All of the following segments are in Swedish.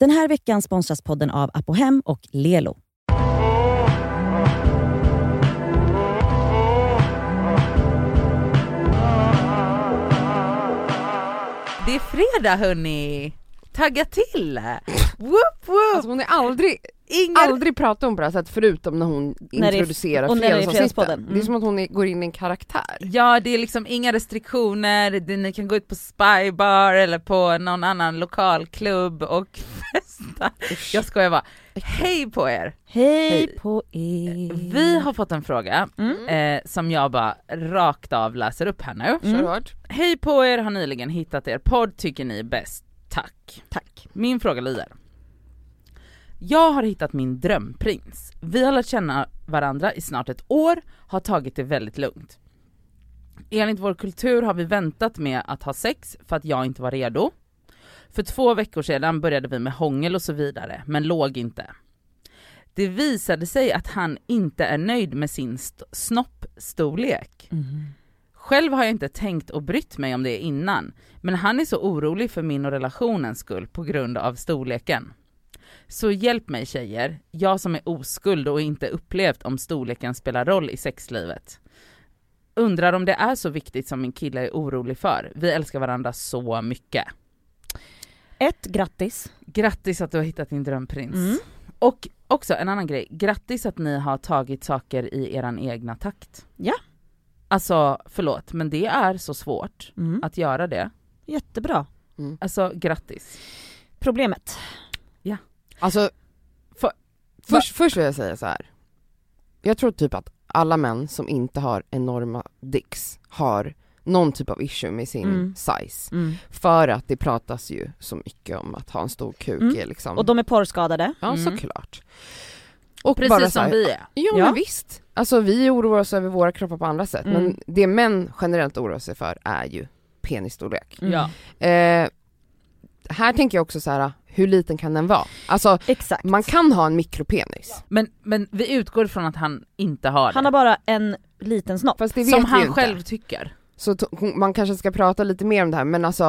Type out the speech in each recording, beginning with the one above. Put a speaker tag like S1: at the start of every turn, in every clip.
S1: Den här veckan sponsras podden av Apohem och Lelo.
S2: Det är fredag hörni! Tagga till! Woop woop!
S3: Alltså hon är aldrig,
S2: Inger...
S3: aldrig pratar hon på det här sättet förutom när hon
S1: När det är-
S3: introducerar
S1: och när det är
S3: fredagsavsnitten.
S1: Fredagspodden.
S3: Det är Mm.
S1: Mm.
S3: som att hon är, går in i en karaktär.
S2: Ja det är liksom inga restriktioner, Det- ni kan gå ut på spybar eller på någon annan lokalklubb och festa. Jag skojar bara. Hej på er!
S1: Hej, på er.
S2: Vi har fått en fråga
S1: Mm.
S2: eh, som jag bara rakt av läser upp här nu.
S3: Kör
S1: Mm.
S3: hårt.
S2: Hej på er, har nyligen hittat er podd, tycker ni är bäst? Tack.
S1: Tack.
S2: Min fråga lyder. Jag har hittat min drömprins. Vi har lärt känna varandra i snart ett år, har tagit det väldigt lugnt. Enligt vår kultur har vi väntat med att ha sex för att jag inte var redo. För två veckor sedan började vi med hångel och så vidare, men låg inte. Det visade sig att han inte är nöjd med sin st- snoppstorlek.
S1: Mm.
S2: Själv har jag inte tänkt och brytt mig om det innan, men han är så orolig för min och relationens skull på grund av storleken. Så hjälp mig tjejer, jag som är oskuld och inte upplevt om storleken spelar roll i sexlivet. Undrar om det är så viktigt som min kille är orolig för. Vi älskar varandra så mycket.
S1: Ett, grattis.
S2: Grattis att du har hittat din drömprins.
S1: Mm.
S2: Och också en annan grej, grattis att ni har tagit saker i eran egna takt.
S1: Ja.
S2: Alltså förlåt, men det är så svårt
S1: Mm.
S2: att göra det.
S1: Jättebra.
S3: Mm.
S2: Alltså grattis.
S1: Problemet.
S3: Alltså, för, först, först vill jag säga så här. Jag tror typ att alla män som inte har enorma dicks har någon typ av issue med sin
S1: Mm.
S3: size. För att det pratas ju så mycket om att ha en stor kuk
S1: Mm.
S3: är liksom,
S1: Och de är porrskadade.
S3: ja
S2: Mm.
S3: såklart. Och
S2: Precis
S3: bara så
S2: som
S3: här,
S2: vi är.
S3: Ja,
S1: Ja.
S3: men visst. Alltså vi oroar oss över våra kroppar på andra sätt
S1: Mm.
S3: men det män generellt oroar sig för är ju penisstorlek.
S1: Mm.
S2: Ja.
S3: Eh, här tänker jag också så här, hur liten kan den vara? Alltså
S1: Exakt.
S3: man kan ha en mikropenis.
S2: Men, men vi utgår från att han inte har det.
S1: Han har bara en liten snopp.
S3: Fast det vet
S2: som
S3: vi
S2: han
S3: ju
S2: själv
S3: inte.
S2: tycker.
S3: Så to- man kanske ska prata lite mer om det här men alltså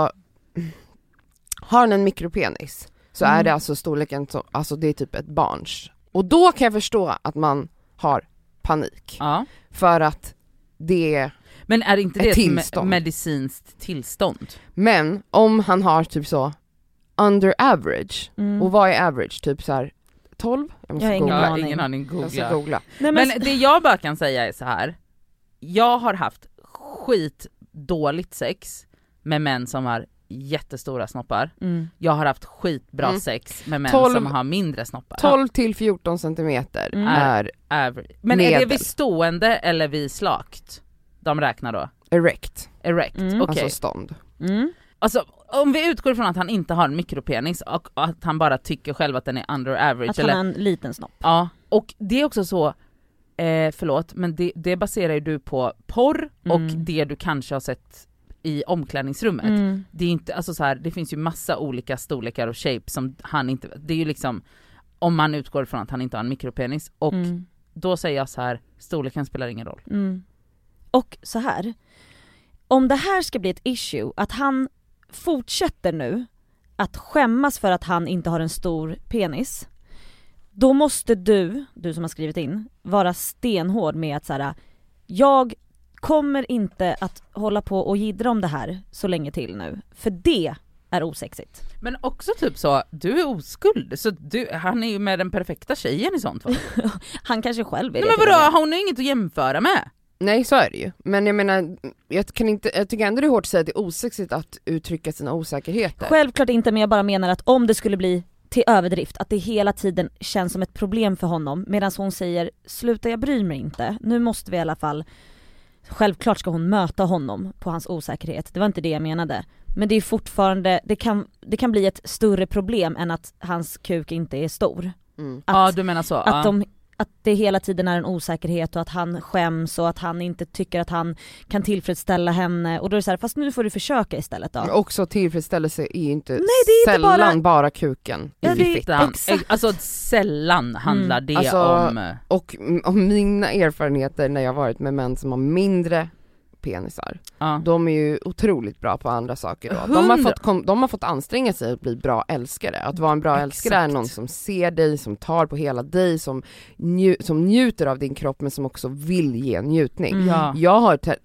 S3: har han en mikropenis så är
S1: Mm.
S3: det alltså storleken, som, alltså det är typ ett barns. Och då kan jag förstå att man har panik.
S2: Ja.
S3: För att det är
S2: Men är inte
S3: Ett
S2: det ett, me-
S3: tillstånd.
S2: medicinskt tillstånd?
S3: Men om han har typ så under average,
S1: Mm.
S3: och vad är average? Typ så här 12? Jag måste
S1: Jag har ingen
S3: googla.
S1: aning.
S2: Ja, ingen aning,
S3: Jag ska
S2: googla.
S3: googla.
S1: Nej, men,
S2: Men det jag bara kan säga är så här. jag har haft skitdåligt sex med män som har jättestora snoppar,
S1: mm.
S2: jag har haft skitbra
S3: Mm.
S2: sex med män
S3: Tolv-
S2: som har mindre snoppar.
S3: 12 till 14 centimeter
S1: Mm.
S3: är
S2: Average. Men är det
S3: Medel.
S2: vid stående eller vid slakt? De räknar då?
S3: erect,
S2: Erect,
S1: Mm.
S2: okej.
S3: alltså stånd.
S1: Mm.
S2: Alltså om vi utgår från att han inte har en mikropenis och att han bara tycker själv att den är under average
S1: Att han
S2: eller,
S1: har en liten snopp.
S2: ja, och det är också så, eh, förlåt men det, det baserar ju du på porr och
S1: Mm.
S2: det du kanske har sett i omklädningsrummet. Det är inte, alltså så här, det finns ju massa olika storlekar och shapes som han inte, det är ju liksom om man utgår från att han inte har en mikropenis och
S1: Mm.
S2: då säger jag så här, storleken spelar ingen roll.
S1: Mm. Och så här. om det här ska bli ett issue, att han fortsätter nu att skämmas för att han inte har en stor penis, då måste du, du som har skrivit in, vara stenhård med att så här. jag kommer inte att hålla på och jiddra om det här så länge till nu, för det är osexigt.
S2: Men också typ så, du är oskuld, så du, han är ju med den perfekta tjejen i sånt fall.
S1: Han kanske själv är
S2: Nej
S1: det.
S2: men
S1: till och med.
S2: vadå, hon har ju inget att jämföra med.
S3: Nej så är det ju, men jag menar, jag, kan inte, jag tycker ändå det är hårt att säga att det är osexigt att uttrycka sina osäkerheter.
S1: Självklart inte men jag bara menar att om det skulle bli till överdrift, att det hela tiden känns som ett problem för honom medan hon säger sluta jag bryr mig inte, nu måste vi i alla fall Självklart ska hon möta honom på hans osäkerhet, det var inte det jag menade. Men det är fortfarande, det kan, det kan bli ett större problem än att hans kuk inte är stor.
S3: Mm.
S1: Att,
S2: ja du menar så. ja.
S1: att, de, att det hela tiden är en osäkerhet och att han skäms och att han inte tycker att han kan tillfredsställa henne och då är det så här, fast nu får du försöka istället då.
S3: Men också tillfredsställelse är ju inte,
S1: det är inte bara-
S3: sällan bara, kuken
S1: Ja,
S3: i
S1: det är- Mm.
S3: fitt.
S2: Sällan.
S1: Exakt.
S2: Alltså sällan handlar det
S3: Alltså,
S2: om... eh,
S3: Och om mina erfarenheter när jag varit med män som har mindre penisar,
S2: Ja.
S3: de är ju otroligt bra på andra saker då. De har,
S2: Hundra.
S3: fått, kom- de har fått anstränga sig att bli bra älskare. Att vara en bra älskare är
S2: Exakt.
S3: någon som ser dig, som tar på hela dig, som, nju, som njuter av din kropp men som också vill ge njutning.
S1: Mm.
S2: Ja.
S3: Jag har te-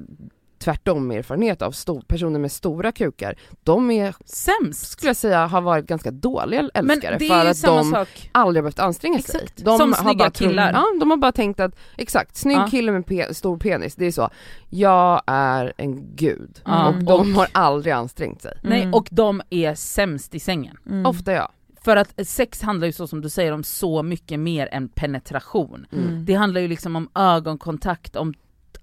S3: tvärtom erfarenhet av sto- personer med stora kukar, de är,
S2: Sämst!
S3: skulle jag säga, har varit ganska dåliga
S2: Men
S3: älskare
S2: det
S3: för
S2: är ju
S3: att
S2: samma
S3: de
S2: sak.
S3: aldrig har behövt anstränga
S2: Exakt.
S3: sig. De
S2: Som
S3: har
S2: snygga
S3: bara trott-
S2: killar.
S3: Ja, de har bara tänkt att, exakt, snygg
S2: Ja.
S3: kille med pe- stor penis, det är så, jag är en gud.
S2: Ja. Mm.
S3: Och de har aldrig ansträngt sig.
S2: Nej, och de är sämst i sängen.
S1: Mm.
S3: Ofta jag.
S2: För att sex handlar ju så som du säger om så mycket mer än penetration.
S1: Mm.
S2: Det handlar ju liksom om ögonkontakt, om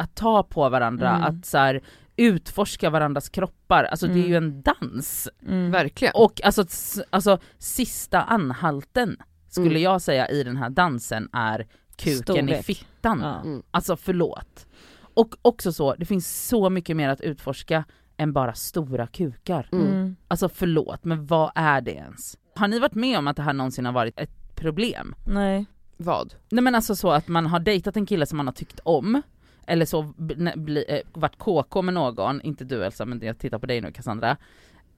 S2: att ta på varandra,
S1: Mm.
S2: att så här, utforska varandras kroppar. Alltså det är
S1: Mm.
S2: ju en dans.
S1: Mm.
S3: Verkligen.
S2: Och alltså, s- alltså sista anhalten skulle
S3: Mm.
S2: jag säga i den här dansen är kuken i
S1: Storlek.
S2: fittan.
S1: Ja.
S3: Mm.
S2: Alltså förlåt. Och också så, det finns så mycket mer att utforska än bara stora kukar.
S3: Mm.
S1: Mm.
S2: Alltså förlåt, men vad är det ens? Har ni varit med om att det här någonsin har varit ett problem?
S1: Nej.
S3: Vad?
S2: Nej men alltså så att man har dejtat en kille som man har tyckt om, eller så b- ne- bli, eh, varit KK med någon, inte du Elsa men jag tittar på dig nu Cassandra.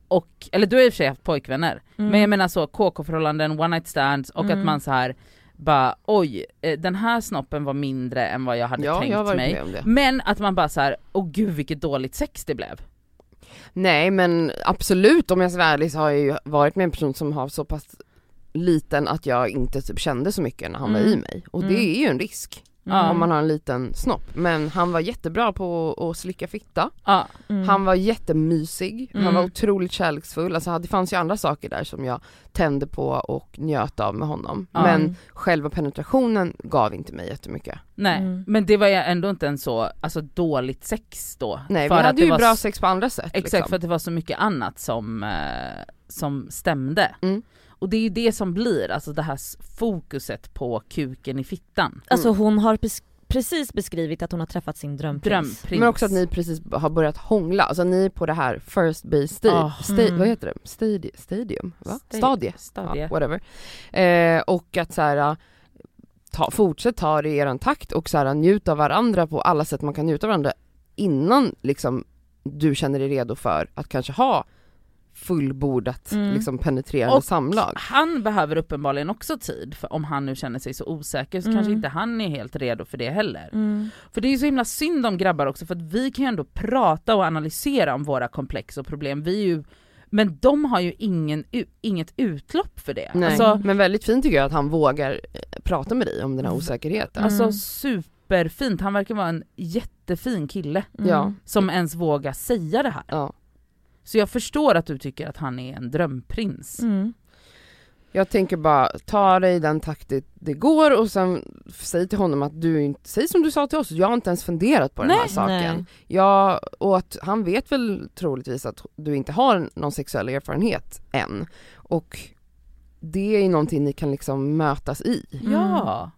S2: Och, eller du har i och för sig haft pojkvänner,
S1: Mm.
S2: men jag menar så KK-förhållanden, one night stands och att
S1: Mm.
S2: man så här bara oj, eh, den här snoppen var mindre än vad jag hade
S3: Ja,
S2: tänkt
S3: jag har varit
S2: mig.
S3: med om det.
S2: Men att man bara så här, åh gud vilket dåligt sex det blev.
S3: Nej men absolut, om jag ska vara ärlig så har jag ju varit med en person som har så pass liten att jag inte typ kände så mycket när han var
S1: Mm.
S3: i mig. Och
S1: Mm.
S3: det är ju en risk
S2: Ja,
S3: om man har en liten snopp. Men han var jättebra på att slicka fitta.
S2: Ja,
S1: Mm.
S3: Han var jättemysig,
S2: Mm.
S3: han var otroligt kärleksfull, alltså det fanns ju andra saker där som jag tände på och njöt av med honom.
S2: Ja.
S1: Mm.
S3: Men Mm. själva penetrationen gav inte mig jättemycket.
S2: nej.
S1: Mm.
S2: Men det var ju ändå inte en så, alltså dåligt sex då.
S3: Nej
S2: för
S3: vi
S2: att
S3: hade
S2: det
S3: ju
S2: var
S3: bra
S2: s-
S3: sex på andra sätt
S2: Exakt, för
S3: liksom.
S2: att det var så mycket annat som, eh, som stämde.
S3: Mm.
S2: Och det är ju det som blir, alltså det här s- fokuset på kuken i fittan.
S1: Alltså hon har bes- precis beskrivit att hon har träffat sin drömprins.
S2: Drömprins.
S3: Men också att ni precis har börjat hångla, alltså ni är på det här first base stage,
S2: Ah.
S3: sta-
S1: Mm.
S3: vad heter det? Stadie, stadium? Va?
S2: Sta-
S3: Stadie?
S2: Stadie.
S3: Ja, whatever. Eh, och att så här, ta, fortsätt ta det i eran takt och så här, ah, njut av varandra på alla sätt man kan njuta av varandra innan liksom du känner dig redo för att kanske ha fullbordat
S1: Mm.
S3: liksom penetrerande
S2: Och-
S3: samlag.
S2: Han behöver uppenbarligen också tid, för om han nu känner sig så osäker så
S1: Mm.
S2: kanske inte han är helt redo för det heller.
S1: Mm.
S2: För det är ju så himla synd om grabbar också, för att vi kan ju ändå prata och analysera om våra komplex och problem, vi är ju men de har ju ingen, u- inget utlopp för det.
S3: Nej. Mm.
S2: Alltså,
S3: Men väldigt fint tycker jag att han vågar eh, prata med dig om den här osäkerheten.
S1: Mm.
S2: Alltså superfint, han verkar vara en jättefin kille
S1: Mm.
S3: Ja.
S2: som ens vågar säga det här.
S3: Ja.
S2: Så jag förstår att du tycker att han är en drömprins.
S1: Mm.
S3: Jag tänker bara ta dig i den takt det, det går och sen säg till honom att du inte, säg som du sa till oss, jag har inte ens funderat på den här
S1: Nej.
S3: saken.
S1: Nej.
S3: Ja, och att han vet väl troligtvis att du inte har någon sexuell erfarenhet än. Och det är ju någonting ni kan liksom mötas i.
S1: Mm.
S2: Ja,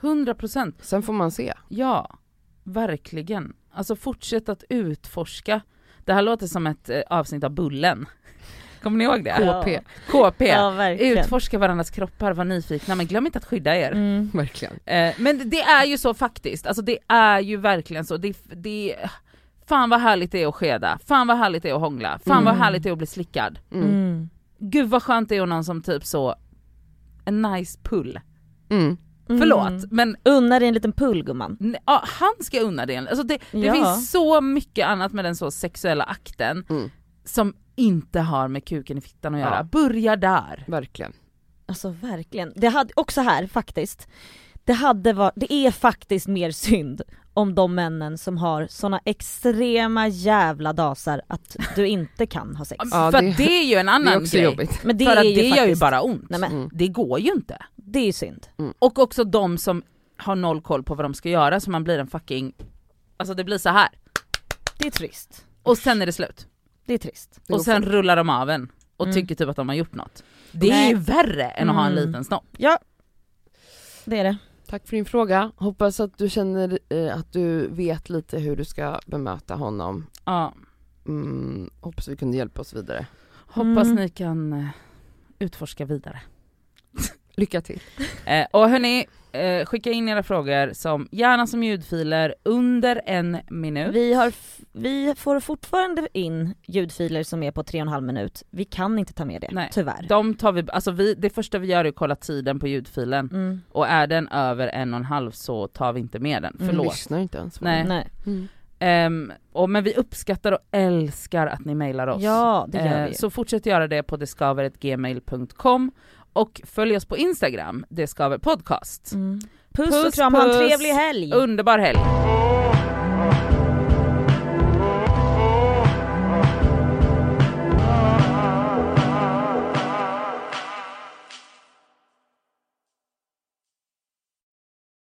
S2: 100 procent.
S3: Sen får man se.
S2: Ja, verkligen. Alltså fortsätt att utforska. Det här låter som ett eh, avsnitt av Bullen. Kommer ni ihåg det?
S1: Ja.
S3: KP,
S2: KP.
S1: Ja verkligen.
S2: Utforska varandras kroppar, var nyfikna men glöm inte att skydda er.
S1: Mm.
S3: verkligen.
S2: Eh, men det är ju så faktiskt, alltså det är ju verkligen så. Det, det, fan vad härligt det är att skeda, fan vad härligt det är att hångla, fan vad
S1: Mm.
S2: härligt det är att bli slickad.
S3: Mm. Mm.
S1: Mm.
S2: Gud vad skönt det är att någon som typ så, en nice pull.
S1: Mm.
S2: Förlåt men
S1: Unna dig en liten pull gumman.
S2: n- ja, han ska unna det. Alltså det, det
S1: Ja.
S2: finns så mycket annat med den så sexuella akten
S3: Mm.
S2: som inte har med kuken i fittan att göra.
S3: Ja.
S2: Börja där.
S3: Verkligen.
S1: Alltså verkligen. Det hade, också här faktiskt, det, hade var, det är faktiskt mer synd om de männen som har såna extrema jävla dasar att du inte kan ha sex.
S3: Ja,
S2: För
S3: det-
S2: att det är ju en annan
S3: Det är också
S2: grej.
S3: jobbigt.
S1: Men det
S2: För
S1: är
S2: att
S1: ju
S2: det gör ju
S1: faktiskt-
S2: bara ont.
S1: Nej, men,
S3: Mm.
S2: Det går ju inte.
S1: Det är ju synd.
S2: Och också de som har noll koll på vad de ska göra så man blir en fucking, alltså det blir så här.
S1: Det är trist.
S2: och sen är det slut.
S1: Det är trist.
S3: Det
S2: Och
S3: går
S2: sen
S3: fort.
S2: rullar de av en och
S1: Mm.
S2: tycker typ att de har gjort något. Det är
S1: Nej.
S2: ju värre än att ha en
S1: Mm.
S2: liten snopp.
S1: Ja, det är det.
S3: Tack för din fråga. Hoppas att du känner eh, att du vet lite hur du ska bemöta honom.
S2: Ja.
S3: Mm. Hoppas vi kunde hjälpa oss vidare.
S2: Hoppas
S1: Mm.
S2: ni kan eh, utforska vidare.
S3: Lycka till.
S2: Eh, och hörni, eh, skicka in era frågor som, gärna som ljudfiler under en minut.
S1: Vi, har f- vi får fortfarande in ljudfiler som är på 3,5 minut. Vi kan inte ta med det,
S2: Nej.
S1: tyvärr.
S2: De tar vi, alltså vi, det första vi gör är att kolla tiden på ljudfilen
S1: Mm.
S2: och är den över en och en halv så tar vi inte med den,
S1: Mm.
S2: förlåt.
S3: Lyssnar inte ens på
S2: Nej.
S3: mig.
S1: Nej.
S3: Mm.
S2: Ehm, och, men vi uppskattar och älskar att ni mejlar oss.
S1: Ja, det gör
S2: Eh,
S1: vi.
S2: Så fortsätt göra det på deskaver.gmail.com och följ oss på Instagram, deskaverpodcast.
S1: Mm. Puss,
S2: Puss,
S1: och kram, ha en
S2: puss.
S1: trevlig helg!
S2: Underbar helg!